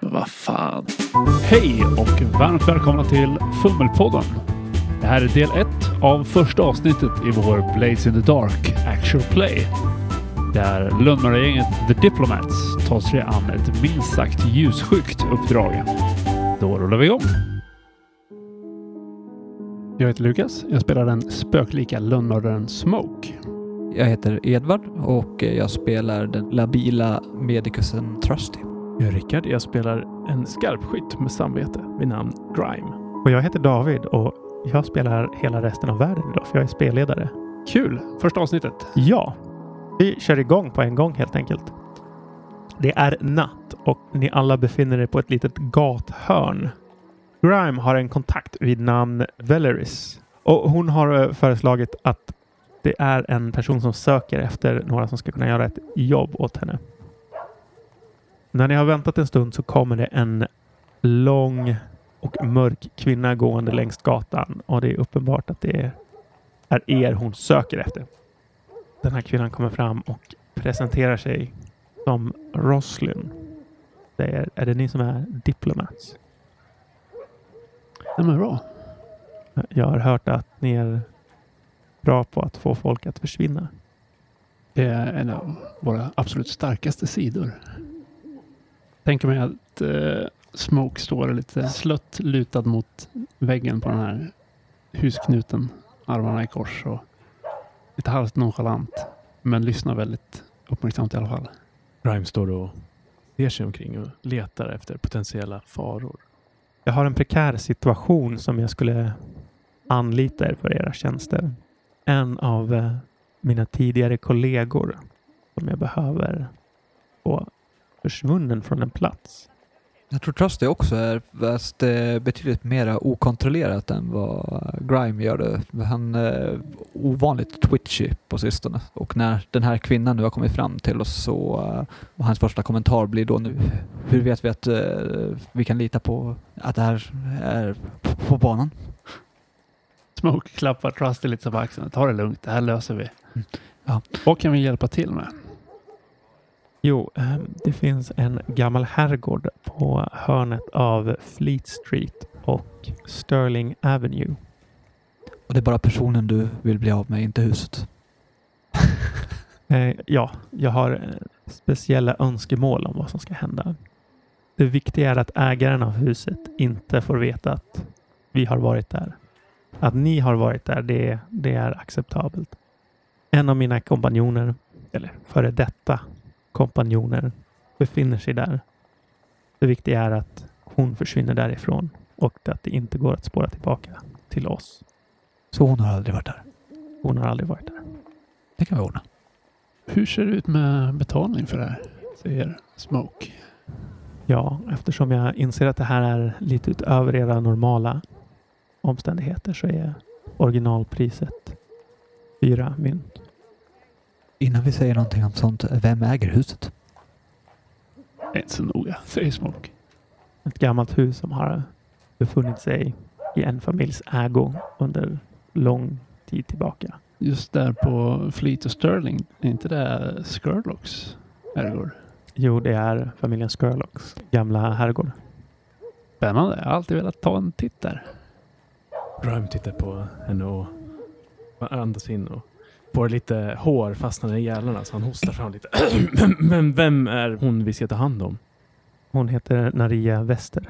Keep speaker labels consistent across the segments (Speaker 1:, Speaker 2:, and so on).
Speaker 1: Vad fan.
Speaker 2: Hej och varmt välkomna till Fummelpodden. Det här är del ett av första avsnittet i vår Blaze in the Dark Actual Play. Där lönnmördargänget The Diplomats tar sig an ett minst sagt ljusskyggt uppdrag. Då rullar vi igång. Jag heter Lukas. Jag spelar den spöklika lönnmördaren Smoke.
Speaker 3: Jag heter Edvard och jag spelar den labila medicusen Trusty.
Speaker 1: Jag är Rickard. Jag spelar en skarpskytt med samvete vid namn Grime.
Speaker 4: Och jag heter David och jag spelar hela resten av världen idag för jag är spelledare.
Speaker 2: Kul! Första avsnittet.
Speaker 4: Ja, vi kör igång på en gång helt enkelt. Det är natt och ni alla befinner er på ett litet gathörn. Grime har en kontakt vid namn Valeris och hon har eh, föreslagit att det är en person som söker efter några som ska kunna göra ett jobb åt henne. När ni har väntat en stund så kommer det en lång och mörk kvinna gående längs gatan och det är uppenbart att det är er hon söker efter. Den här kvinnan kommer fram och presenterar sig som Roslyn. Säger, är det ni som är diplomats?
Speaker 2: Ja, men bra.
Speaker 4: Jag har hört att ni är bra på att få folk att försvinna.
Speaker 2: Det är en av våra absolut starkaste sidor. Tänker mig att eh, Smoke står lite slött lutad mot väggen på den här husknuten. Armarna i kors och lite halvt nonchalant. Men lyssnar väldigt uppmärksamt i alla fall.
Speaker 1: Grime står och ser sig omkring och letar efter potentiella faror.
Speaker 4: Jag har en prekär situation som jag skulle anlita er för era tjänster. En av eh, mina tidigare kollegor som jag behöver få försvunnen från en plats.
Speaker 3: Jag tror Trusty också är fast eh, betydligt mer okontrollerat än vad Grime gör det. Han är ovanligt twitchy på sistone och när den här kvinnan nu har kommit fram till oss så eh, och hans första kommentar blir då nu hur vet vi att eh, vi kan lita på att det här är på, på banan?
Speaker 2: Smoke klappar Trusty lite så på axeln. Ta det lugnt, det här löser vi.
Speaker 1: Mm.
Speaker 3: Ja.
Speaker 2: Vad kan vi hjälpa till med?
Speaker 4: Jo, eh, det finns en gammal herrgård på hörnet av Fleet Street och Sterling Avenue.
Speaker 3: Och det är bara personen du vill bli av med, inte huset.
Speaker 4: Eh, ja, jag har eh, speciella önskemål om vad som ska hända. Det viktiga är att ägaren av huset inte får veta att vi har varit där. Att ni har varit där, det, det är acceptabelt. En av mina kompanjoner, eller före detta kompanjoner, befinner sig där. Det viktiga är att hon försvinner därifrån och att det inte går att spåra tillbaka till oss.
Speaker 3: Så hon har aldrig varit där.
Speaker 4: Hon har aldrig varit där.
Speaker 3: Det kan vi ordna.
Speaker 2: Hur ser det ut med betalning för det här? Säger Smoke.
Speaker 4: Ja, eftersom jag inser att det här är lite utöver era normala omständigheter så är originalpriset fyra mynt.
Speaker 3: Innan vi säger någonting om sånt, vem äger huset?
Speaker 2: Det är inte så noga, säger Smoke.
Speaker 4: Ett gammalt hus som har befunnit sig i en familjs ägo under lång tid tillbaka.
Speaker 2: Just där på Fleet och Sterling, är inte det Skurlocks herrgård?
Speaker 4: Jo, det är familjen Skurlocks gamla herrgård.
Speaker 2: Spännande. Jag har alltid velat ta en titt där.
Speaker 1: Grime tittar på henne och andas in och får lite hår fastna i gälarna så han hostar fram lite. Men vem är hon vi ska ta hand om?
Speaker 4: Hon heter Naria Wester.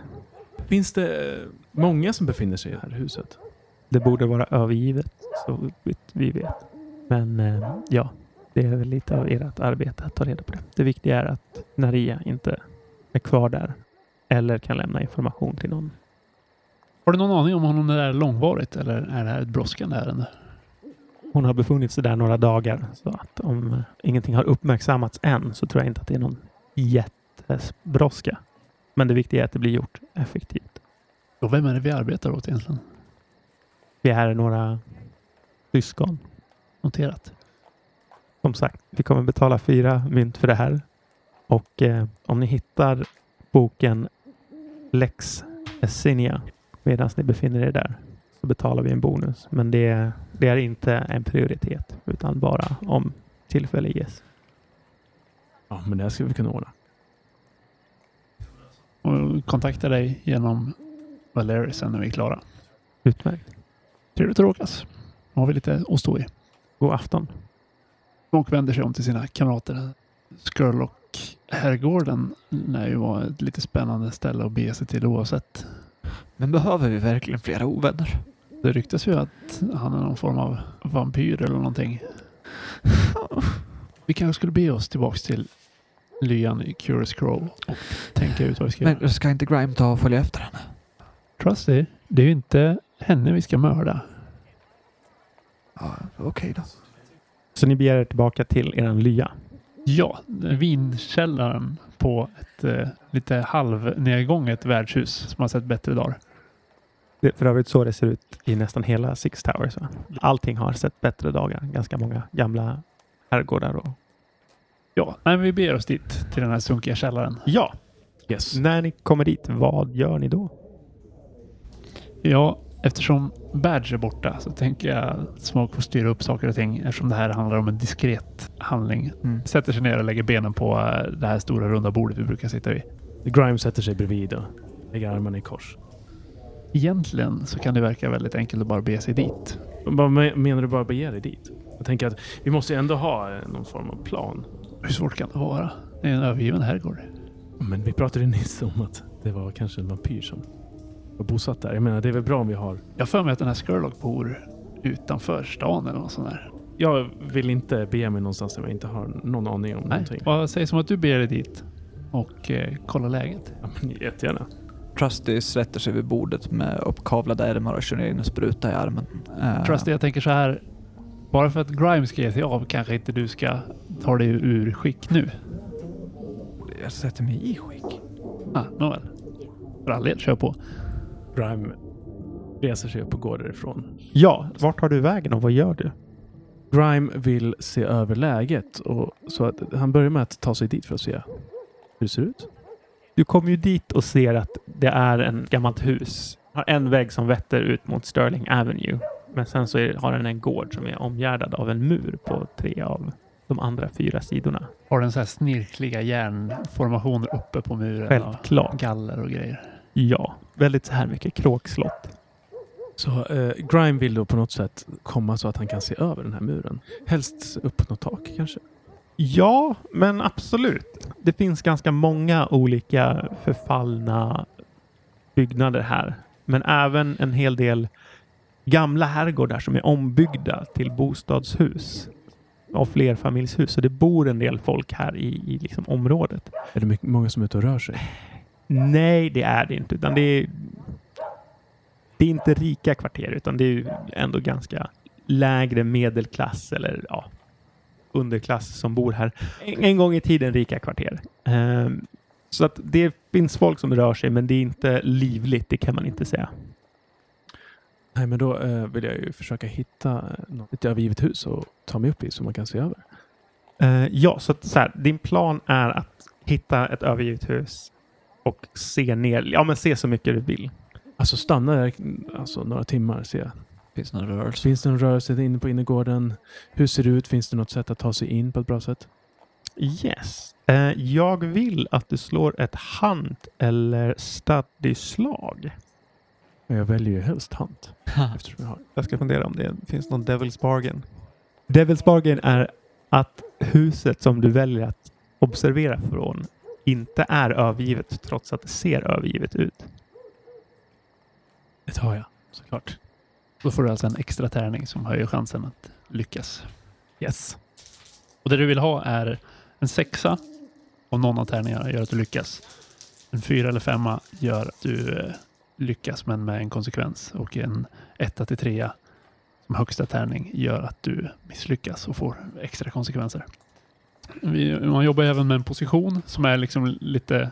Speaker 1: Finns det eh, många som befinner sig i det här huset?
Speaker 4: Det borde vara övergivet så vitt vi vet. Men eh, ja, det är väl lite av ert arbete att ta reda på det. Det viktiga är att Naria inte är kvar där eller kan lämna information till någon.
Speaker 2: Har du någon aning om hon är där långvarigt eller är det här ett brådskande ärende?
Speaker 4: Hon har befunnit sig där några dagar så att om eh, ingenting har uppmärksammats än så tror jag inte att det är någon jättebrådska. Men det viktiga är att det blir gjort effektivt.
Speaker 2: Och vem är det vi arbetar åt egentligen?
Speaker 4: Vi är några syskon.
Speaker 2: Noterat.
Speaker 4: Som sagt, vi kommer betala fyra mynt för det här. Och eh, om ni hittar boken Lex Essinia medan ni befinner er där så betalar vi en bonus. Men det, det är inte en prioritet utan bara om tillfälle ges.
Speaker 1: Ja, men det här ska vi kunna ordna.
Speaker 2: och kontakta dig genom Valeri sen när vi är klara.
Speaker 4: Utmärkt.
Speaker 2: Trevligt att råkas. Nu har vi lite att stå i.
Speaker 4: God afton.
Speaker 2: Och vänder sig om till sina kamrater. Skurlock-herrgården lär ju vara ett lite spännande ställe att bege sig till oavsett.
Speaker 3: Men behöver vi verkligen flera ovänner?
Speaker 2: Det ryktas ju att han är någon form av vampyr eller någonting. Vi kanske skulle be oss tillbaks till lyan i Curious Crow och tänka ut vad vi ska göra.
Speaker 3: Men ska inte Grime ta och följa efter henne?
Speaker 2: Trusty, det är ju inte henne vi ska mörda.
Speaker 3: Ja, okej då.
Speaker 4: Så ni begär er tillbaka till eran lya.
Speaker 2: Ja, vinkällaren på ett eh, lite halvnedgånget värdshus som har sett bättre dagar.
Speaker 4: Det är för övrigt så det ser ut i nästan hela Six Towers. Va? Allting har sett bättre dagar. Ganska många gamla herrgårdar. Och...
Speaker 2: Ja, nej, men vi beger oss dit till den här sunkiga källaren.
Speaker 4: Ja,
Speaker 1: Yes.
Speaker 4: när ni kommer dit, vad gör ni då?
Speaker 2: Ja, eftersom Badge är borta så tänker jag att Smoke får styra upp saker och ting eftersom det här handlar om en diskret handling.
Speaker 3: Mm.
Speaker 2: Sätter sig ner och lägger benen på eh, det här stora runda bordet vi brukar sitta vid.
Speaker 1: Grime sätter sig bredvid och lägger armarna i kors.
Speaker 2: Egentligen så kan det verka väldigt enkelt att bara bege sig dit.
Speaker 1: Vad me- menar du bara bege dig dit? Jag tänker att vi måste ju ändå ha eh, någon form av plan.
Speaker 2: Hur svårt kan det vara? Det är en övergiven herrgård.
Speaker 1: Men vi pratade nyss om att det var kanske en vampyr som var bosatt där. Jag menar, det är väl bra om vi har...
Speaker 2: Jag har för mig att den här Skurlock bor utanför stan eller något sånt där.
Speaker 1: Jag vill inte bege mig någonstans där jag inte har någon aning om
Speaker 2: Nej,
Speaker 1: någonting.
Speaker 2: vad sägs om att du beger dig dit och eh, kollar läget?
Speaker 1: Ja, men jättegärna.
Speaker 3: Trusty sätter sig vid bordet med uppkavlade ärmar och kör ner en spruta i armen. Eh,
Speaker 2: Trusty, jag tänker så här. Bara för att Grimes ska ge sig av kanske inte du ska ta dig ur skick nu.
Speaker 3: Jag sätter mig i skick.
Speaker 2: Ah, Nåväl. För all del, kör på.
Speaker 1: Grime reser sig upp och går därifrån.
Speaker 4: Ja, vart tar du vägen och vad gör du?
Speaker 1: Grime vill se över läget och så att han börjar med att ta sig dit för att se hur det ser ut.
Speaker 4: Du kommer ju dit och ser att det är en gammalt hus. Har en vägg som vetter ut mot Sterling Avenue. Men sen så är, har den en gård som är omgärdad av en mur på tre av de andra fyra sidorna.
Speaker 2: Har den så här snirkliga järnformationer uppe på muren. Och
Speaker 4: Självklart.
Speaker 2: galler och grejer.
Speaker 4: Ja, väldigt så här mycket kråkslott.
Speaker 1: Så eh, Grime vill då på något sätt komma så att han kan se över den här muren. Helst upp något tak kanske.
Speaker 4: Ja, men absolut. Det finns ganska många olika förfallna byggnader här. Men även en hel del gamla herrgårdar som är ombyggda till bostadshus och flerfamiljshus. Så det bor en del folk här i, i liksom området.
Speaker 1: Är det mycket, många som är ute och rör sig?
Speaker 4: Nej, det är det inte. Utan det, är, det är inte rika kvarter, utan det är ju ändå ganska lägre medelklass eller ja, underklass som bor här. En, en gång i tiden rika kvarter. Ehm, så att det finns folk som rör sig, men det är inte livligt. Det kan man inte säga.
Speaker 1: Nej, men då eh, vill jag ju försöka hitta eh, något ett övergivet hus och ta mig upp i så man kan se över.
Speaker 4: Eh, ja, så, att, så här, din plan är att hitta ett övergivet hus och se ner. Ja, men se så mycket du vill.
Speaker 1: Alltså stanna där mm, alltså, några timmar. Se.
Speaker 3: Finns några rörelser?
Speaker 1: Finns det någon rörelse inne på innergården? Hur ser det ut? Finns det något sätt att ta sig in på ett bra sätt?
Speaker 4: Yes. Eh, jag vill att du slår ett hand eller study-slag.
Speaker 1: Men Jag väljer ju helst hand. Eftersom jag har.
Speaker 4: Jag ska fundera om det finns någon Devil's Bargain. Devil's Bargain är att huset som du väljer att observera från inte är övergivet trots att det ser övergivet ut.
Speaker 1: Det tar jag såklart.
Speaker 2: Då får du alltså en extra tärning som höjer chansen att lyckas.
Speaker 4: Yes.
Speaker 2: Och det du vill ha är en sexa. Och någon av tärningarna gör att du lyckas. En fyra eller femma gör att du eh, lyckas men med en konsekvens. Och en etta till trea som högsta tärning gör att du misslyckas och får extra konsekvenser. Vi, man jobbar även med en position som är liksom lite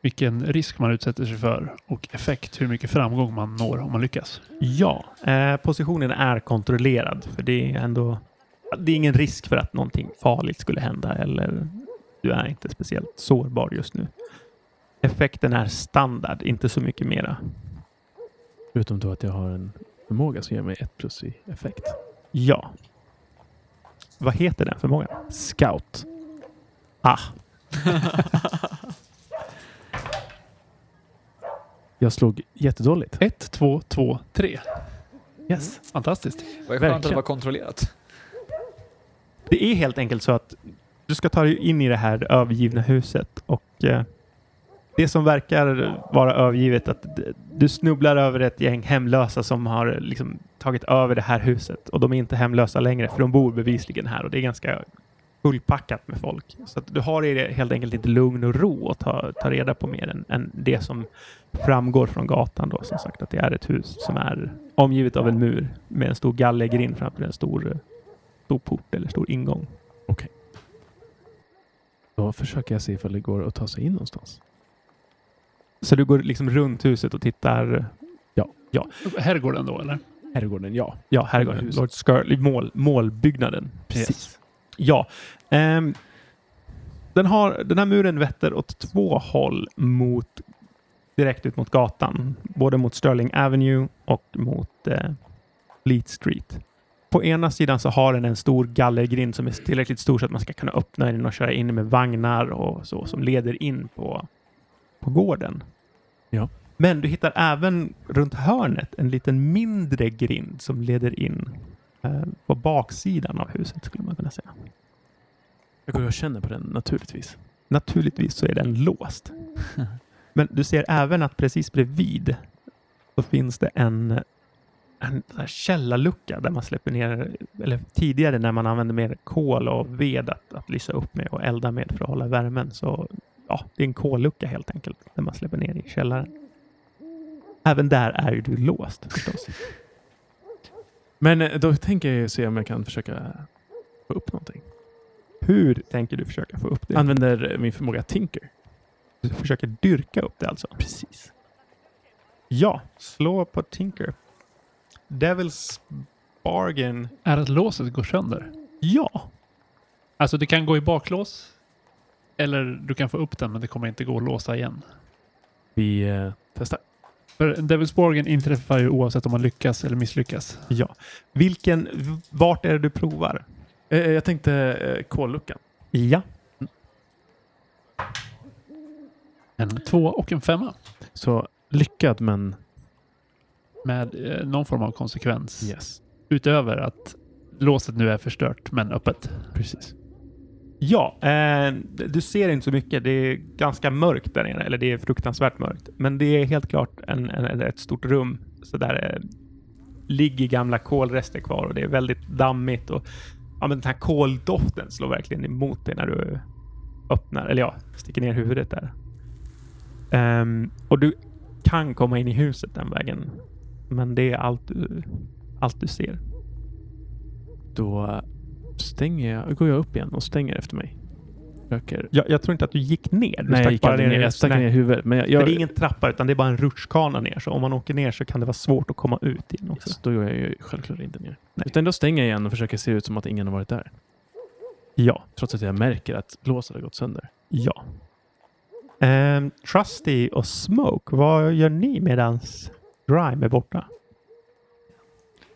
Speaker 2: vilken risk man utsätter sig för och effekt hur mycket framgång man når om man lyckas.
Speaker 4: Ja, eh, positionen är kontrollerad för det är ändå det är ingen risk för att någonting farligt skulle hända eller du är inte speciellt sårbar just nu. Effekten är standard, inte så mycket mera.
Speaker 1: Förutom då att jag har en förmåga som ger mig ett plus i effekt.
Speaker 4: Ja. Vad heter den förmågan?
Speaker 1: Scout.
Speaker 4: Ah.
Speaker 1: Jag slog jättedåligt.
Speaker 2: Ett, två, två, tre.
Speaker 1: Yes.
Speaker 2: Fantastiskt.
Speaker 3: Vad skönt att det
Speaker 1: Verkligen.
Speaker 3: var kontrollerat.
Speaker 4: Det är helt enkelt så att du ska ta dig in i det här övergivna huset och eh, det som verkar vara övergivet att d- du snubblar över ett gäng hemlösa som har liksom tagit över det här huset och de är inte hemlösa längre för de bor bevisligen här och det är ganska fullpackat med folk. Så att du har i det helt enkelt lite lugn och ro att ta, ta reda på mer än, än det som framgår från gatan då. Som sagt att det är ett hus som är omgivet av en mur med en stor gallergrind framför en stor eh, stor port eller stor ingång.
Speaker 1: Då försöker jag se ifall det går att ta sig in någonstans.
Speaker 4: Så du går liksom runt huset och tittar.
Speaker 2: Herrgården då eller?
Speaker 1: Herrgården, ja.
Speaker 4: Ja, här går
Speaker 1: Huset.
Speaker 4: Lord Skirley, mål, målbyggnaden.
Speaker 1: Precis.
Speaker 4: Ja. Ehm, den, har, den här muren vetter åt två håll mot direkt ut mot gatan. Både mot Sterling Avenue och mot eh, Fleet Street. På ena sidan så har den en stor gallergrind som är tillräckligt stor så att man ska kunna öppna den och köra in med vagnar och så som leder in på, på gården.
Speaker 1: Ja.
Speaker 4: Men du hittar även runt hörnet en liten mindre grind som leder in eh, på baksidan av huset skulle man kunna säga.
Speaker 1: Jag går och känner på den naturligtvis.
Speaker 4: Naturligtvis så är den låst. Men du ser även att precis bredvid så finns det en, en sån här källarlucka där man släpper ner, eller tidigare när man använde mer kol och ved att, att lysa upp med och elda med för att hålla värmen. Så ja, det är en kollucka helt enkelt där man släpper ner i källaren. Även där är ju du låst förstås.
Speaker 1: Men eh, då tänker jag ju se om jag kan försöka få upp någonting.
Speaker 4: Hur tänker du försöka få upp det?
Speaker 1: Använder eh, min förmåga Tinker.
Speaker 4: Du försöker dyrka upp det alltså? Precis. Ja, slå på Tinker. Devil's Bargain.
Speaker 2: Är att låset går sönder?
Speaker 4: Ja,
Speaker 2: Alltså det kan gå i baklås. Eller du kan få upp den men det kommer inte gå att låsa igen.
Speaker 1: Vi eh, testar.
Speaker 2: För Devil's Borgen inträffar ju oavsett om man lyckas eller misslyckas.
Speaker 4: ja. Vilken, vart är det du provar?
Speaker 1: Eh, eh, jag tänkte eh, kolluckan.
Speaker 4: Ja.
Speaker 2: En två och en femma.
Speaker 1: Så lyckad men
Speaker 2: Med eh, någon form av konsekvens.
Speaker 1: yes.
Speaker 2: Utöver att låset nu är förstört men öppet.
Speaker 1: Precis.
Speaker 4: Ja, eh, du ser inte så mycket. Det är ganska mörkt där nere, eller det är fruktansvärt mörkt. Men det är helt klart en, en, ett stort rum. Så där eh, ligger gamla kolrester kvar och det är väldigt dammigt. Och, ja, men den här koldoften slår verkligen emot dig när du öppnar, eller ja, sticker ner huvudet där. Ehm, och du kan komma in i huset den vägen. Men det är allt du, allt du ser.
Speaker 1: Då eh, stänger jag, går jag upp igen och stänger efter mig. Försöker.
Speaker 4: Jag, jag tror inte att du gick ner. Du
Speaker 1: Nej, jag, gick aldrig ner.
Speaker 4: i-
Speaker 1: jag stack
Speaker 4: Nej.
Speaker 1: ner huvudet. Men jag, jag,
Speaker 4: För det är ingen trappa utan det är bara en rutschkana ner. Så om man åker ner så kan det vara svårt att komma ut igen också.
Speaker 1: Yes, då går jag ju självklart inte ner. Utan då stänger jag igen och försöker se ut som att ingen har varit där.
Speaker 4: Ja,
Speaker 1: Trots att jag märker att låset har gått sönder.
Speaker 4: ja. Ehm, Trusty och Smoke, vad gör ni medans Grime är borta?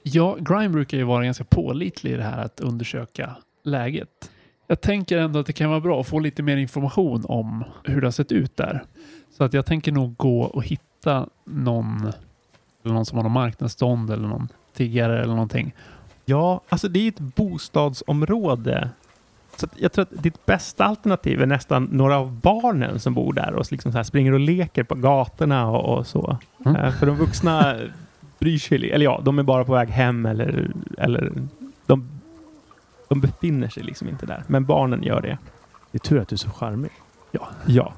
Speaker 2: Ja, Grime brukar ju vara ganska pålitlig i det här att undersöka läget. Jag tänker ändå att det kan vara bra att få lite mer information om hur det har sett ut där. Så att jag tänker nog gå och hitta någon, eller någon som har någon marknadsstånd eller någon tiggare eller någonting.
Speaker 4: Ja, alltså det är ju ett bostadsområde. Så att jag tror att ditt bästa alternativ är nästan några av barnen som bor där och liksom så här springer och leker på gatorna och, och så.
Speaker 2: Mm.
Speaker 4: Eh, För de vuxna bryr sig, li- eller ja, de är bara på väg hem eller, eller de, de befinner sig liksom inte där. Men barnen gör det.
Speaker 1: Det är tur att du är så charmig.
Speaker 4: Ja.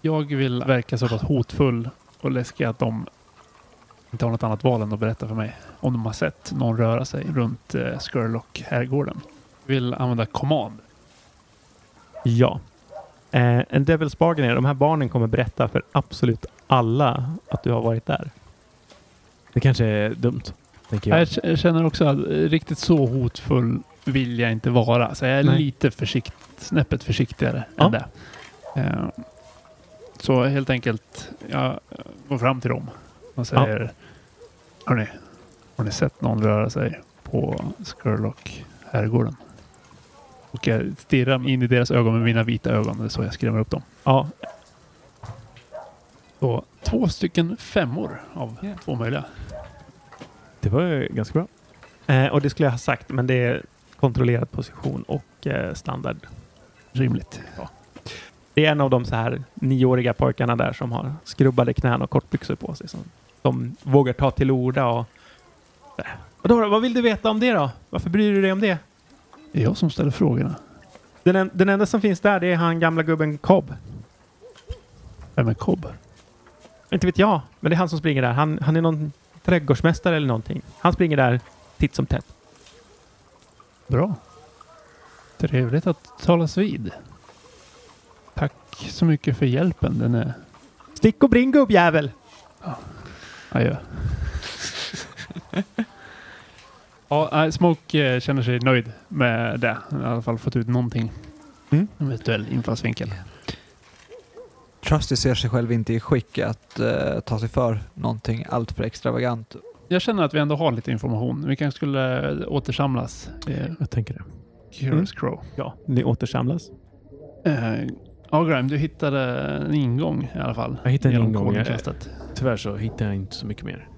Speaker 2: Jag vill verka så pass hotfull och läskig att de inte har något annat val än att berätta för mig om de har sett någon röra sig runt eh, Skurlock herrgården. Vill använda command.
Speaker 4: Ja. Eh, en Devil's Bargain är de här barnen kommer berätta för absolut alla att du har varit där.
Speaker 1: Det kanske är dumt. Tänker jag.
Speaker 2: Jag k- Jag känner också att eh, riktigt så hotfull vill jag inte vara. Så jag är
Speaker 4: Nej.
Speaker 2: lite försikt, snäppet försiktigare
Speaker 4: Ja.
Speaker 2: än det. Eh, Så helt enkelt, jag går fram till dem och säger Hörni, har ni sett någon röra sig på Skurlock herrgården? Och jag stirrar in i deras ögon med mina vita ögon. Det är så jag skrämmer upp dem.
Speaker 4: Ja.
Speaker 2: Och Två stycken femmor av
Speaker 3: Yeah.
Speaker 2: två möjliga.
Speaker 1: Det var ju ganska bra.
Speaker 4: Eh, och det skulle jag ha sagt, men det är kontrollerad position och eh, standard.
Speaker 2: Rimligt.
Speaker 4: Det är en av de så här nioåriga pojkarna där som har skrubbade knän och kortbyxor på sig. Som, som vågar ta till orda och... Eh, Vadå, då? vad vill du veta om det då? Varför bryr du dig om det?
Speaker 2: Det är jag som ställer frågorna.
Speaker 4: Den, en, den enda som finns där, det är han gamla gubben Cobb.
Speaker 2: Vem är Cobb?
Speaker 4: Inte vet jag, men det är han som springer där. Han, han är någon trädgårdsmästare eller någonting. Han springer där titt som tätt.
Speaker 2: Bra. Trevligt att talas vid. Tack så mycket för hjälpen. Den är
Speaker 4: Stick och bring gubbjävel!
Speaker 2: adjö. ja, nej, Smoke eh, känner sig nöjd med det. Han har I alla fall fått ut någonting.
Speaker 4: Mm.
Speaker 2: En virtuell infallsvinkel.
Speaker 3: Trusty ser sig själv inte i skick att eh, ta sig för någonting alltför extravagant.
Speaker 2: Jag känner att vi ändå har lite information. Vi kanske skulle eh, återsamlas. Eh,
Speaker 1: Jag tänker det.
Speaker 2: Curious Crow.
Speaker 4: Ja, ni återsamlas.
Speaker 2: Eh, ja, Grime, du hittade en ingång i alla fall.
Speaker 1: Jag hittade en
Speaker 2: Genom
Speaker 1: ingång, ja.
Speaker 2: kolonkastet.
Speaker 1: Tyvärr så hittar jag inte så mycket mer.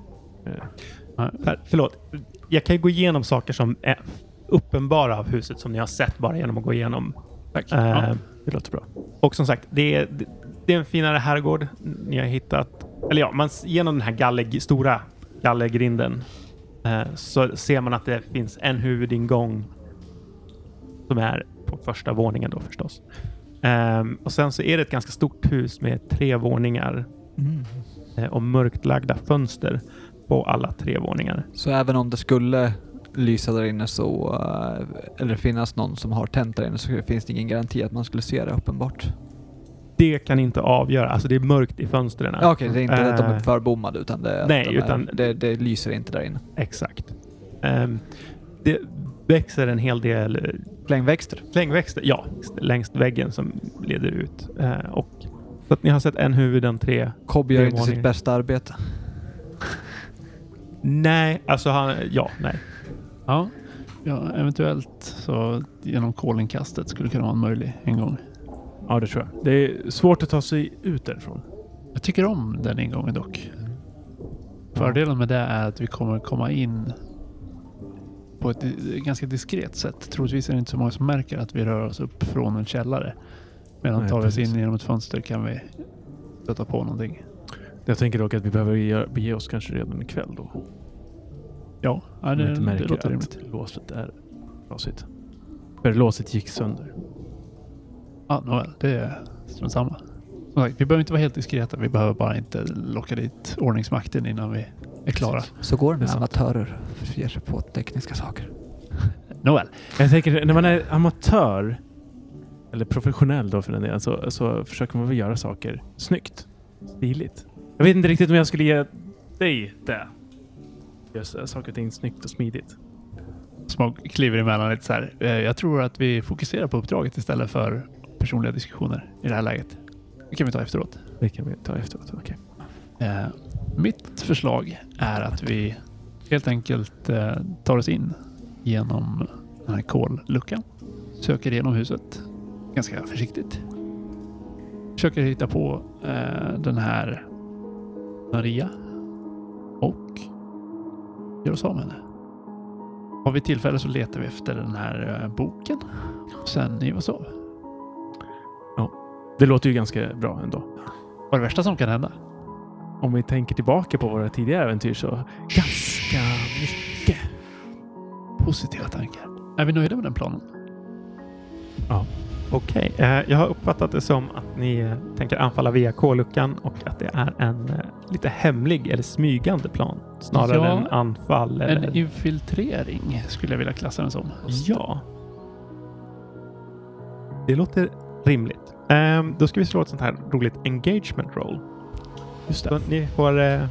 Speaker 4: Per, förlåt, jag kan ju gå igenom saker som är uppenbara av huset som ni har sett bara genom att gå igenom.
Speaker 2: Tack.
Speaker 4: Eh,
Speaker 2: ja.
Speaker 1: Det låter bra.
Speaker 4: Och som sagt, det är, det- det är en finare herrgård ni har hittat. Eller ja, man, s- genom den här galler, stora gallergrinden eh, så ser man att det finns en huvudingång som är på första våningen då förstås. Ehm, och sen så är det ett ganska stort hus med tre våningar
Speaker 3: Mm.
Speaker 4: eh, och mörkt lagda fönster på alla tre våningar.
Speaker 3: Så även om det skulle lysa där inne så, eh, eller finnas någon som har tänt där inne så finns det ingen garanti att man skulle se det uppenbart.
Speaker 4: Det kan inte avgöra. Alltså det är mörkt i fönstren.
Speaker 3: Ja, Okej, det är inte att de
Speaker 4: Eh.
Speaker 3: är förbommade utan det, att
Speaker 4: Nej,
Speaker 3: de är,
Speaker 4: utan-
Speaker 3: det, det lyser inte där inne.
Speaker 4: Exakt. Ehm, det växer en hel del eh,
Speaker 3: Flängväxter.
Speaker 4: Slängväxter, ja. Längs väggen som leder ut. Eh, och, så att ni har sett en huvud, en tre.
Speaker 3: Cobb gör
Speaker 4: Det är
Speaker 3: inte sitt
Speaker 4: varning.
Speaker 3: bästa arbete.
Speaker 4: Nej, alltså han, ja, nej.
Speaker 2: Ja. ja, eventuellt så genom kolinkastet skulle kunna vara en möjlig ingång.
Speaker 1: Ja, det tror jag. Det är svårt att ta sig ut därifrån.
Speaker 2: Jag tycker om den ingången dock. Fördelen med det är att vi kommer komma in på ett di- ganska diskret sätt. Troligtvis är det inte så många som märker att vi rör oss upp från en källare. Medan
Speaker 1: Nej,
Speaker 2: tar vi oss
Speaker 1: precis.
Speaker 2: in genom ett fönster kan vi stöta på någonting.
Speaker 1: Jag tänker dock att vi behöver ge- bege oss kanske redan ikväll då. Om
Speaker 2: Ja, ja
Speaker 1: vi
Speaker 2: det,
Speaker 1: inte
Speaker 2: det
Speaker 1: märker
Speaker 2: låter rimligt.
Speaker 1: att låset är trasigt. För låset gick sönder.
Speaker 2: Ja, nåväl. Det är strunt samma. Som sagt, vi behöver inte vara helt diskreta. Vi behöver bara inte locka dit ordningsmakten innan vi är klara.
Speaker 3: Så går det
Speaker 1: Det är
Speaker 3: med
Speaker 1: sant.
Speaker 3: amatörer. och Ger sig på tekniska saker.
Speaker 2: Nåväl.
Speaker 1: Jag tänker, när man är amatör, eller professionell då för den delen, så, så försöker man väl göra saker snyggt. Stiligt. Jag vet inte riktigt om jag skulle ge dig det. Just eh, saker och ting snyggt och smidigt.
Speaker 2: Smog kliver emellan lite så här. Eh, Jag tror att vi fokuserar på uppdraget istället för personliga diskussioner i det här läget. Det kan vi ta efteråt.
Speaker 1: Det kan vi ta efteråt. Okej.
Speaker 2: Eh, Mitt förslag är att vi helt enkelt eh, tar oss in genom den här kolluckan. Söker igenom huset ganska försiktigt. Försöker hitta på eh, den här Maria och gör oss av med henne. Har vi tillfälle så letar vi efter den här eh, boken. Sen ger vi oss av.
Speaker 1: Det låter ju ganska bra ändå.
Speaker 2: Vad är det värsta som kan hända?
Speaker 1: Om vi tänker tillbaka på våra tidigare äventyr så ganska mycket.
Speaker 2: Positiva tankar. Är vi nöjda med den planen?
Speaker 4: Okej, eh, jag har uppfattat det som att ni eh, tänker anfalla via K-luckan och att det är en eh, lite hemlig eller smygande plan snarare
Speaker 2: Ja,
Speaker 4: än anfall. Eller,
Speaker 2: En infiltrering skulle jag vilja klassa den som.
Speaker 4: ja. Det låter rimligt. Ehm, då ska vi slå ett sånt här roligt engagement roll.
Speaker 1: Just
Speaker 4: Så
Speaker 1: det.
Speaker 4: ni får eh,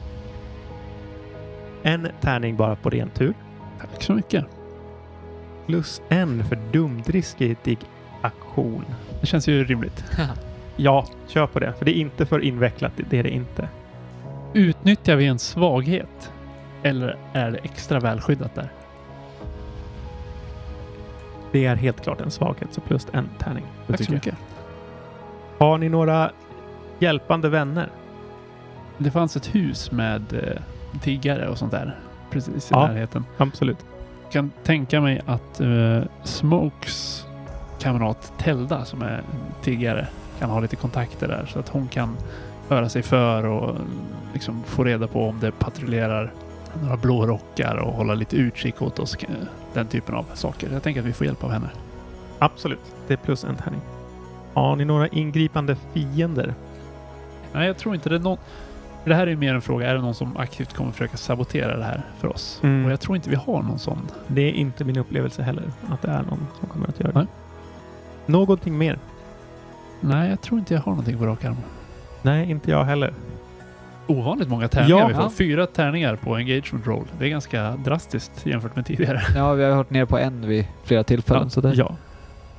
Speaker 4: en tärning bara på ren tur.
Speaker 2: Tack så mycket.
Speaker 4: Plus en för dumdristig aktion.
Speaker 2: Det känns ju rimligt.
Speaker 4: Ja, kör på det. För det är inte för invecklat. Det är det inte.
Speaker 2: Utnyttjar vi en svaghet? Eller är det extra välskyddat där?
Speaker 4: Det är helt klart en svaghet. Så plus en tärning.
Speaker 1: Det
Speaker 2: Tack så
Speaker 1: tycker jag.
Speaker 2: mycket.
Speaker 4: Har ni några hjälpande vänner?
Speaker 2: Det fanns ett hus med eh, tiggare och sånt där precis i
Speaker 4: Ja.
Speaker 2: närheten.
Speaker 4: Absolut.
Speaker 2: kan tänka mig att eh, Smokes kamrat Telda som är tiggare kan ha lite kontakter där så att hon kan höra sig för och mm, liksom få reda på om det patrullerar några blårockar och hålla lite utkik åt oss. eh, Den typen av saker. Jag tänker att vi får hjälp av henne.
Speaker 4: Absolut. Det är plus en tärning. Har ni några ingripande fiender?
Speaker 2: Nej, jag tror inte det är någon... För det här är ju mer en fråga. Är det någon som aktivt kommer försöka sabotera det här för oss?
Speaker 4: Mm.
Speaker 2: Och jag tror inte vi har någon sån.
Speaker 4: Det är inte min upplevelse heller att det är någon som kommer att göra det.
Speaker 2: Nej.
Speaker 4: Någonting mer?
Speaker 2: Nej, jag tror inte jag har någonting på rak arm.
Speaker 4: Nej, inte jag heller.
Speaker 2: Ovanligt många tärningar
Speaker 4: Ja.
Speaker 2: vi får. Fyra tärningar på engagement roll. Det är ganska drastiskt jämfört med tidigare.
Speaker 3: Ja, vi har hört ner på en vid flera tillfällen. så det,
Speaker 4: Ja,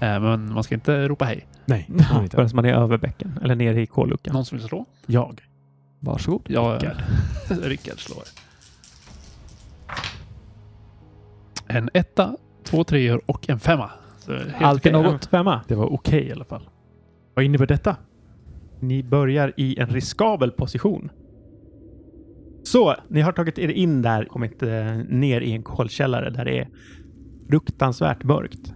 Speaker 2: Eh, Men man ska inte ropa hej.
Speaker 1: Nej,
Speaker 3: Ja,
Speaker 1: inte.
Speaker 4: förrän man är över bäcken eller nere i K-luckan.
Speaker 2: Någon som vill slå?
Speaker 1: jag.
Speaker 3: Varsågod.
Speaker 2: Ja,
Speaker 1: Rickard.
Speaker 2: Rickard slår. En etta, två treor och en femma. Så helt
Speaker 3: Alltid
Speaker 2: okej.
Speaker 3: något.
Speaker 4: Femma.
Speaker 1: Det var okej i alla fall. Vad innebär detta?
Speaker 4: Ni börjar i en riskabel position. Så, ni har tagit er in där, kommit eh, ner i en kolkällare där det är fruktansvärt mörkt.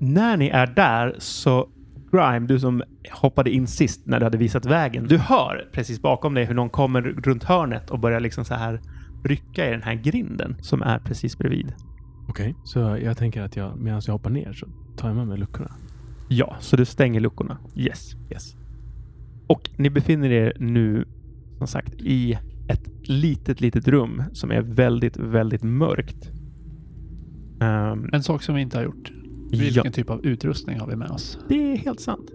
Speaker 4: När ni är där så, Grime, du som hoppade in sist när du hade visat vägen, du hör precis bakom dig hur någon kommer runt hörnet och börjar liksom så här rycka i den här grinden som är precis bredvid.
Speaker 1: Okej, så jag tänker att jag medan jag hoppar ner så tar jag med mig luckorna.
Speaker 4: Ja, så du stänger luckorna. Yes.
Speaker 1: Yes.
Speaker 4: Och ni befinner er nu som sagt i ett litet, litet rum som är väldigt, väldigt mörkt. Ehm,
Speaker 2: En sak som vi inte har gjort. Vilken
Speaker 4: ja,
Speaker 2: typ av utrustning har vi med oss?
Speaker 4: det är helt sant.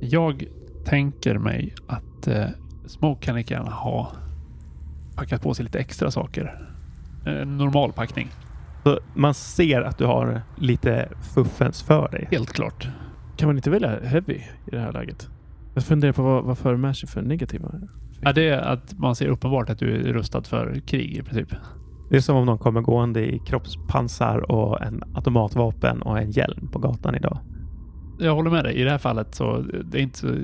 Speaker 2: Jag tänker mig att eh, Smoke kan lika gärna ha packat på sig lite extra saker. Eh, En normal packning,
Speaker 4: Så man ser att du har lite fuffens för dig.
Speaker 2: helt klart.
Speaker 1: Kan man inte välja heavy i det här läget? Jag funderar på vad, vad för sig för negativa.
Speaker 2: Ja, det är att man ser uppenbart att du är rustad för krig i princip.
Speaker 4: Det är som om någon kommer gående i kroppspansar och en automatvapen och en hjälm på gatan idag.
Speaker 2: Jag håller med dig. I det här fallet så det är inte så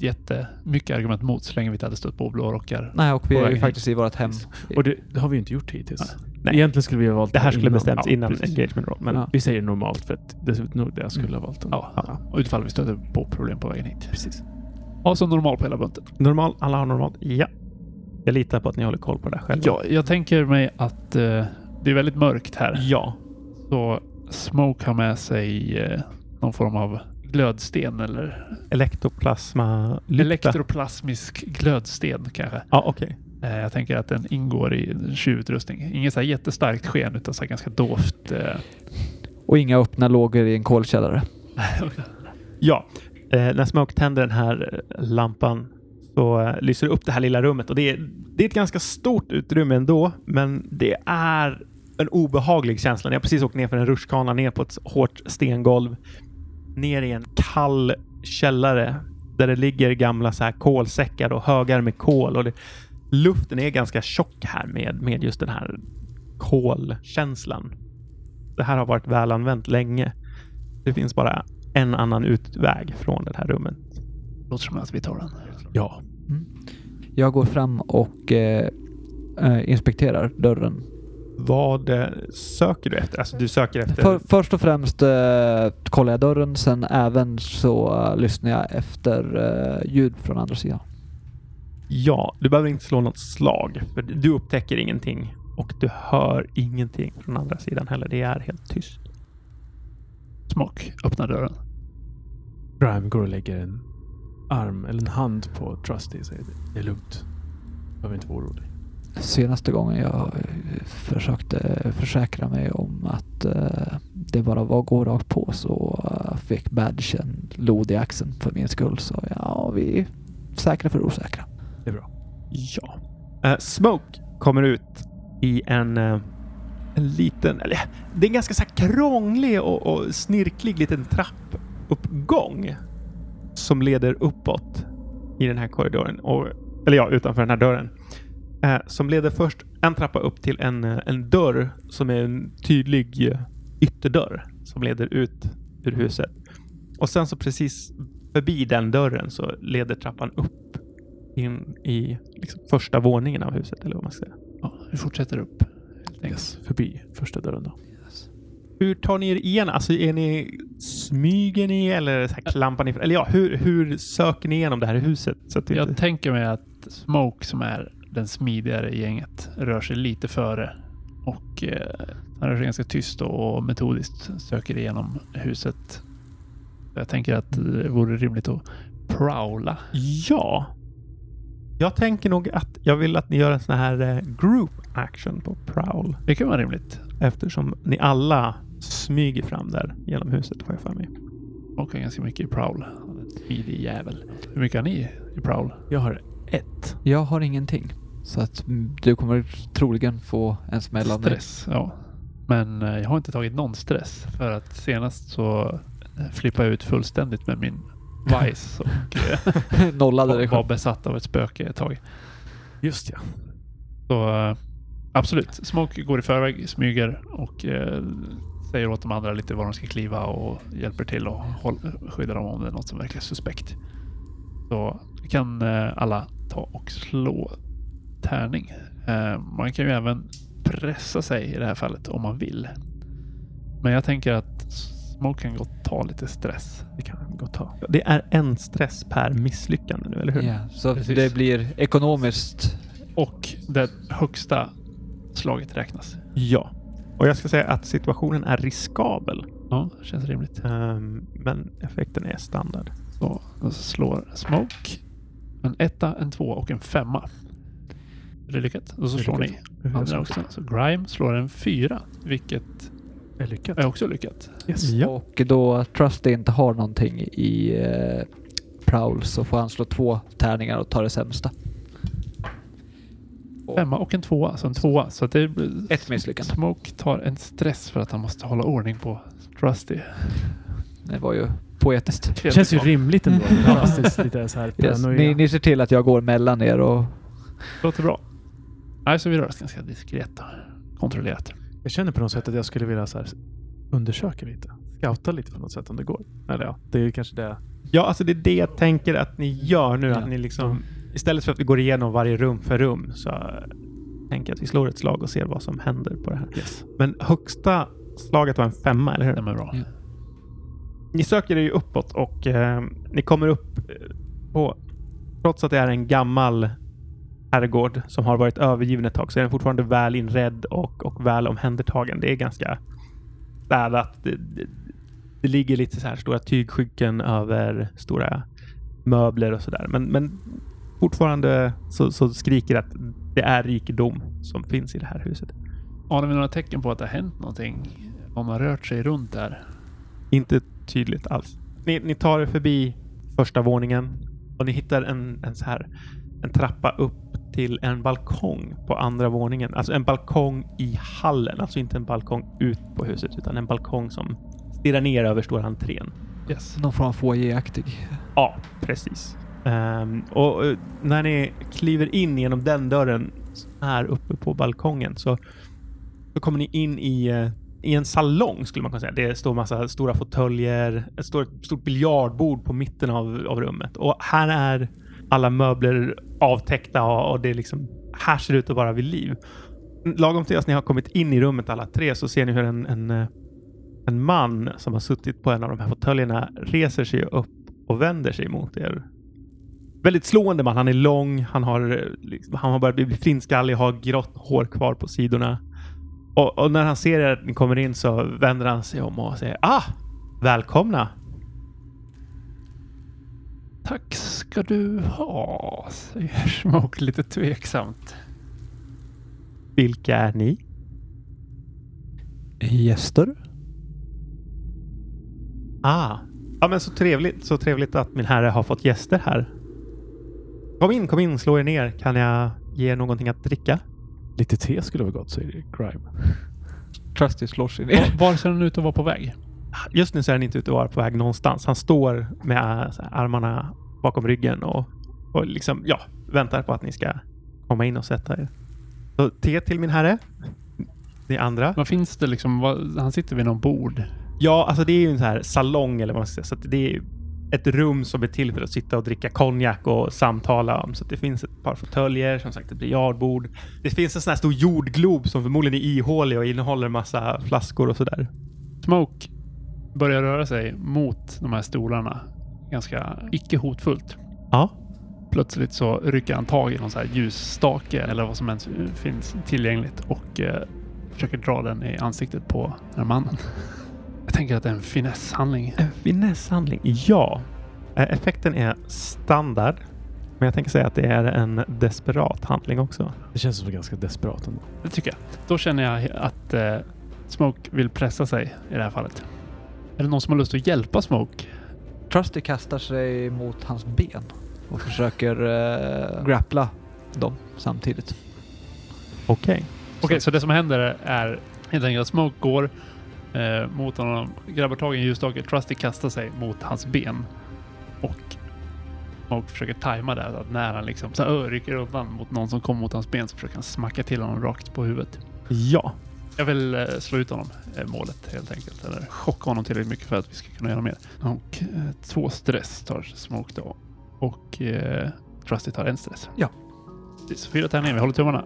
Speaker 2: jättemycket argument mot så länge vi inte hade stött på blårockar.
Speaker 3: Nej, och vi är
Speaker 2: På
Speaker 3: ju
Speaker 2: vägen
Speaker 3: faktiskt i vårt hem.
Speaker 1: Och det, det har vi ju inte gjort hittills.
Speaker 4: Nej.
Speaker 1: Egentligen skulle vi ha valt
Speaker 4: Det här skulle
Speaker 1: innan.
Speaker 4: bestämts
Speaker 1: Ja,
Speaker 4: innan
Speaker 1: precis.
Speaker 4: engagement roll, men
Speaker 3: Ja.
Speaker 1: Vi säger normalt för att det är nog det jag skulle ha valt. ändå.
Speaker 2: Ja, och utifall vi stöter på problem på vägen hit. Precis. Ja, så normal på hela bunten.
Speaker 4: normal, alla har normalt. Ja. Jag litar på att ni håller koll på det här själva.
Speaker 2: Ja, jag tänker mig att eh, det är väldigt mörkt här.
Speaker 4: Ja.
Speaker 2: Så Smoke har med sig eh, någon form av glödsten eller
Speaker 4: Elektroplasma lykta.
Speaker 2: elektroplasmisk glödsten kanske.
Speaker 4: Ja, okej.
Speaker 2: Eh, jag tänker att den ingår i tjuvutrustning. Inget så här jättestarkt sken utan så här ganska dovt. Eh,
Speaker 3: Och inga öppna lågor i en kolkällare.
Speaker 4: Ja, eh, när Smoke tänder den här eh, lampan så eh, lyser det upp det här lilla rummet och det är, det är ett ganska stort utrymme ändå, men det är en obehaglig känsla. Ni har precis åkt ner för en rutschkana ner på ett hårt stengolv, ner i en kall källare där det ligger gamla så här kolsäckar och högar med kol och det, luften är ganska tjock här med, med just den här kolkänslan. Det här har varit välanvänt länge. Det finns bara en annan utväg från det här rummet.
Speaker 2: låter som att vi tar den.
Speaker 1: ja.
Speaker 3: Jag går fram och eh, eh, inspekterar dörren.
Speaker 4: Vad eh, söker du efter? Alltså du söker efter...
Speaker 3: För, först och främst eh, kollar jag dörren, sen även så eh, lyssnar jag efter eh, ljud från andra sidan.
Speaker 4: Ja, du behöver inte slå något slag. För du upptäcker ingenting och du hör ingenting från andra sidan heller. Det är helt tyst.
Speaker 2: Smoke öppnar dörren.
Speaker 1: Grime går och lägger en arm eller en hand på Trusty och säger det är lugnt. Behöver inte vara orolig.
Speaker 3: Senaste gången jag eh, försökte försäkra mig om att eh, det bara var att gå rakt på så eh, fick badgen lod i axeln för min skull. Så ja, vi är säkra för osäkra.
Speaker 1: Det är bra.
Speaker 4: Ja. Eh, Smoke kommer ut i en, eh, en liten, eller det är en ganska så här krånglig och, och snirklig liten trappuppgång som leder uppåt i den här korridoren, och, eller ja, utanför den här dörren. Eh, som leder först en trappa upp till en, eh, en dörr som är en tydlig eh, ytterdörr som leder ut ur huset. Och sen så precis förbi den dörren så leder trappan upp in i liksom första våningen av huset. Eller vad man ska säga.
Speaker 2: Ja, vi fortsätter upp. Helt enkelt.
Speaker 1: Yes, förbi första dörren då.
Speaker 4: Hur tar ni er igen? Alltså är ni, smyger ni eller så här klampar ni? Eller ja, hur, hur söker ni igenom det här huset? Så att det
Speaker 2: Jag
Speaker 4: inte-
Speaker 2: tänker mig att Smoke som är den smidigare i gänget rör sig lite före och eh, han rör sig ganska tyst och metodiskt söker igenom huset. Jag tänker att det vore rimligt att prowla.
Speaker 4: Ja. Jag tänker nog att jag vill att ni gör en sån här eh, group action på prowl.
Speaker 2: Det kan vara rimligt.
Speaker 4: Eftersom ni alla smyger fram där genom huset får jag för mig.
Speaker 2: Smoke har ganska mycket i prowl. Han är en Smidig jävel. Hur mycket har ni i prowl?
Speaker 1: Jag har ett.
Speaker 3: Jag har ingenting. Så att mm, du kommer troligen få en smäll av mig.
Speaker 2: Stress, ja. Men eh, jag har inte tagit någon stress för att senast så eh, flippade jag ut fullständigt med min vice och eh,
Speaker 3: Nollade dig
Speaker 2: var, var
Speaker 3: själv.
Speaker 2: besatt av ett spöke ett tag.
Speaker 1: Just ja.
Speaker 2: Så eh, absolut, Smoke går i förväg, smyger och eh, säger åt de andra lite var de ska kliva och hjälper till och håll, skyddar dem om det är något som verkar suspekt. Så kan eh, alla ta och slå tärning. Eh, man kan ju även pressa sig i det här fallet om man vill. Men jag tänker att Smoke kan gott ta lite stress.
Speaker 1: Det kan jag gott ta.
Speaker 4: Det är en stress per misslyckande nu, eller hur?
Speaker 3: Ja, så
Speaker 2: Precis.
Speaker 3: det blir ekonomiskt.
Speaker 2: Och det högsta slaget räknas.
Speaker 4: Ja. Och jag ska säga att situationen är riskabel.
Speaker 2: Ja, känns rimligt.
Speaker 4: Ehm, men effekten är standard.
Speaker 2: Så, och så slår Smoke en etta, en två och en femma. Är det lyckat? Och så slår ni andra också. Så Grime slår en fyra, vilket
Speaker 1: Jag lyckas.
Speaker 2: är också lyckat.
Speaker 1: Yes.
Speaker 4: Ja.
Speaker 3: Och då Trusty inte har någonting i eh, Prowl så får han slå två tärningar och ta det sämsta. Och
Speaker 2: Femma och en tvåa, så en tvåa. Så att det blir-
Speaker 3: Ett misslyckande.
Speaker 2: Smoke tar en stress för att han måste hålla ordning på Trusty.
Speaker 3: Det var ju poetiskt.
Speaker 1: Det känns ju rimligt ändå.
Speaker 3: Mm.
Speaker 1: Ja, precis. Lite så här
Speaker 3: Yes.
Speaker 1: paranoia.
Speaker 3: Ni, ni ser till att jag går mellan er och
Speaker 2: Låter bra. Nej, så vi rör oss ganska diskret och kontrollerat.
Speaker 1: Jag känner på något sätt att jag skulle vilja så här undersöka lite. Scouta lite på något sätt om det går. Eller ja, det är kanske det.
Speaker 4: Ja, alltså det är det jag tänker att ni gör nu.
Speaker 3: Ja.
Speaker 4: Att ni liksom, istället för att vi går igenom varje rum för rum så eh, tänker jag att vi slår ett slag och ser vad som händer på det här.
Speaker 1: Yes.
Speaker 4: Men högsta slaget var en femma, eller hur?
Speaker 2: Den är bra.
Speaker 3: Ja.
Speaker 4: Ni söker er ju uppåt och eh, ni kommer upp eh, på... Trots att det är en gammal herrgård som har varit övergiven ett tag så är den fortfarande väl inredd och, och väl omhändertagen. Det är ganska städat. Det, det, det ligger lite så här stora tygskynken över stora möbler och sådär. Men, men fortfarande så, så skriker det att det är rikedom som finns i det här huset.
Speaker 2: Anar vi några tecken på att det har hänt någonting? Om man rört sig runt där?
Speaker 4: Inte tydligt alls. Ni, ni tar er förbi första våningen och ni hittar en, en, så här, en trappa upp till en balkong på andra våningen. Alltså en balkong i hallen. Alltså inte en balkong ut på huset utan en balkong som stirrar ner över stora entrén.
Speaker 2: Yes.
Speaker 3: någon form av foajéaktig.
Speaker 4: Ja, precis. Ehm, och eh, när ni kliver in genom den dörren här uppe på balkongen så, så kommer ni in i, eh, i en salong skulle man kunna säga. Det står massa stora fåtöljer, ett stort, stort biljardbord på mitten av, av rummet och här är alla möbler avtäckta och, och det är liksom, här ser det ut att vara vid liv. Lagom till att ni har kommit in i rummet alla tre så ser ni hur en, en, eh, en man som har suttit på en av de här fåtöljerna reser sig upp och vänder sig mot er. Väldigt slående man. Han är lång, han har, eh, liksom, han har börjat bli flintskallig, har grått hår kvar på sidorna. Och, och när han ser er att ni kommer in så vänder han sig om och säger Ah! Välkomna!
Speaker 2: Tack ska du ha, säger Smoke lite tveksamt.
Speaker 4: Vilka är ni?
Speaker 3: Gäster?
Speaker 4: Ah! Ja men så trevligt, så trevligt att min herre har fått gäster här. Kom in, kom in, slå er ner. Kan jag ge er någonting att dricka?
Speaker 1: Lite te skulle vara gott, säger Grime.
Speaker 3: Trusty slår sig ner.
Speaker 2: Var ser den ut att vara på väg?
Speaker 4: Just nu så är han inte ute och är på väg någonstans. Han står med äh, så här, armarna bakom ryggen och, och liksom, ja, väntar på att ni ska komma in och sätta er. Så te till min herre. Ni andra.
Speaker 2: Vad finns det liksom? Vad, han sitter vid någon bord.
Speaker 4: Ja, alltså det är ju en så här salong eller vad man ska säga. Så att det är ett rum som är till för att sitta och dricka konjak och samtala om. Så att det finns ett par fåtöljer, som sagt ett biljardbord. Det finns en sån här stor jordglob som förmodligen är ihålig och innehåller massa flaskor och sådär.
Speaker 2: Smoke börjar röra sig mot de här stolarna. Ganska icke hotfullt.
Speaker 4: Ja.
Speaker 2: Plötsligt så rycker han tag i någon så här ljusstake eller vad som ens finns tillgängligt och eh, försöker dra den i ansiktet på den här mannen. Jag tänker att det är en finesshandling.
Speaker 4: En finesshandling? Ja. Eh, Effekten är standard. Men jag tänker säga att det är en desperat handling också.
Speaker 1: Det känns som ganska desperat ändå.
Speaker 2: Det tycker jag. Då känner jag att eh, Smoke vill pressa sig i det här fallet. Är det någon som har lust att hjälpa Smoke?
Speaker 3: Trusty kastar sig mot hans ben och försöker eh, grappla dem samtidigt.
Speaker 4: Okej.
Speaker 2: Okej, så det som händer är helt enkelt att Smoke går eh, mot honom, grabbar tag i en ljusstake, Trusty kastar sig mot hans ben och Smoke försöker tajma det, att när han liksom så här, ö, rycker undan mot någon som kommer mot hans ben så försöker han smacka till honom rakt på huvudet.
Speaker 4: Ja.
Speaker 2: Jag vill eh, slå ut honom, eh, målet helt enkelt, eller chocka honom tillräckligt mycket för att vi ska kunna göra mer. Och eh, två stress tar Smoke då och eh, Trusty tar en stress.
Speaker 3: Ja.
Speaker 2: Precis, fyra tärningar, vi håller tummarna.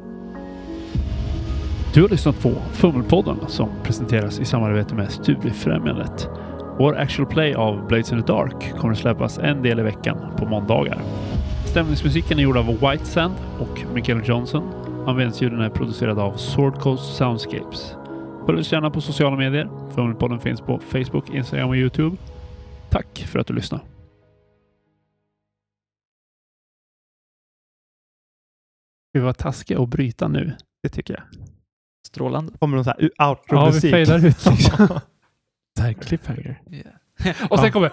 Speaker 2: Du har lyssnat på Fummelpodden som presenteras i samarbete med Studiefrämjandet. Vår actual play av Blades in the Dark kommer att släppas en del i veckan på måndagar. Stämningsmusiken är gjord av White Sand och Michael Johnson. Användsljuden är producerade av Sword Coast Soundscapes. Följ oss gärna på sociala medier. Fummelpodden finns på Facebook, Instagram och Youtube. Tack för att du lyssnade. Ska vi vara taskiga och bryta nu?
Speaker 4: Det tycker jag.
Speaker 3: Strålande.
Speaker 4: Kommer någon så här
Speaker 2: Ja, vi
Speaker 4: outro-musik?
Speaker 2: fejdar ut liksom.
Speaker 1: Det här är cliffhanger.
Speaker 3: Yeah.
Speaker 2: Och sen kommer...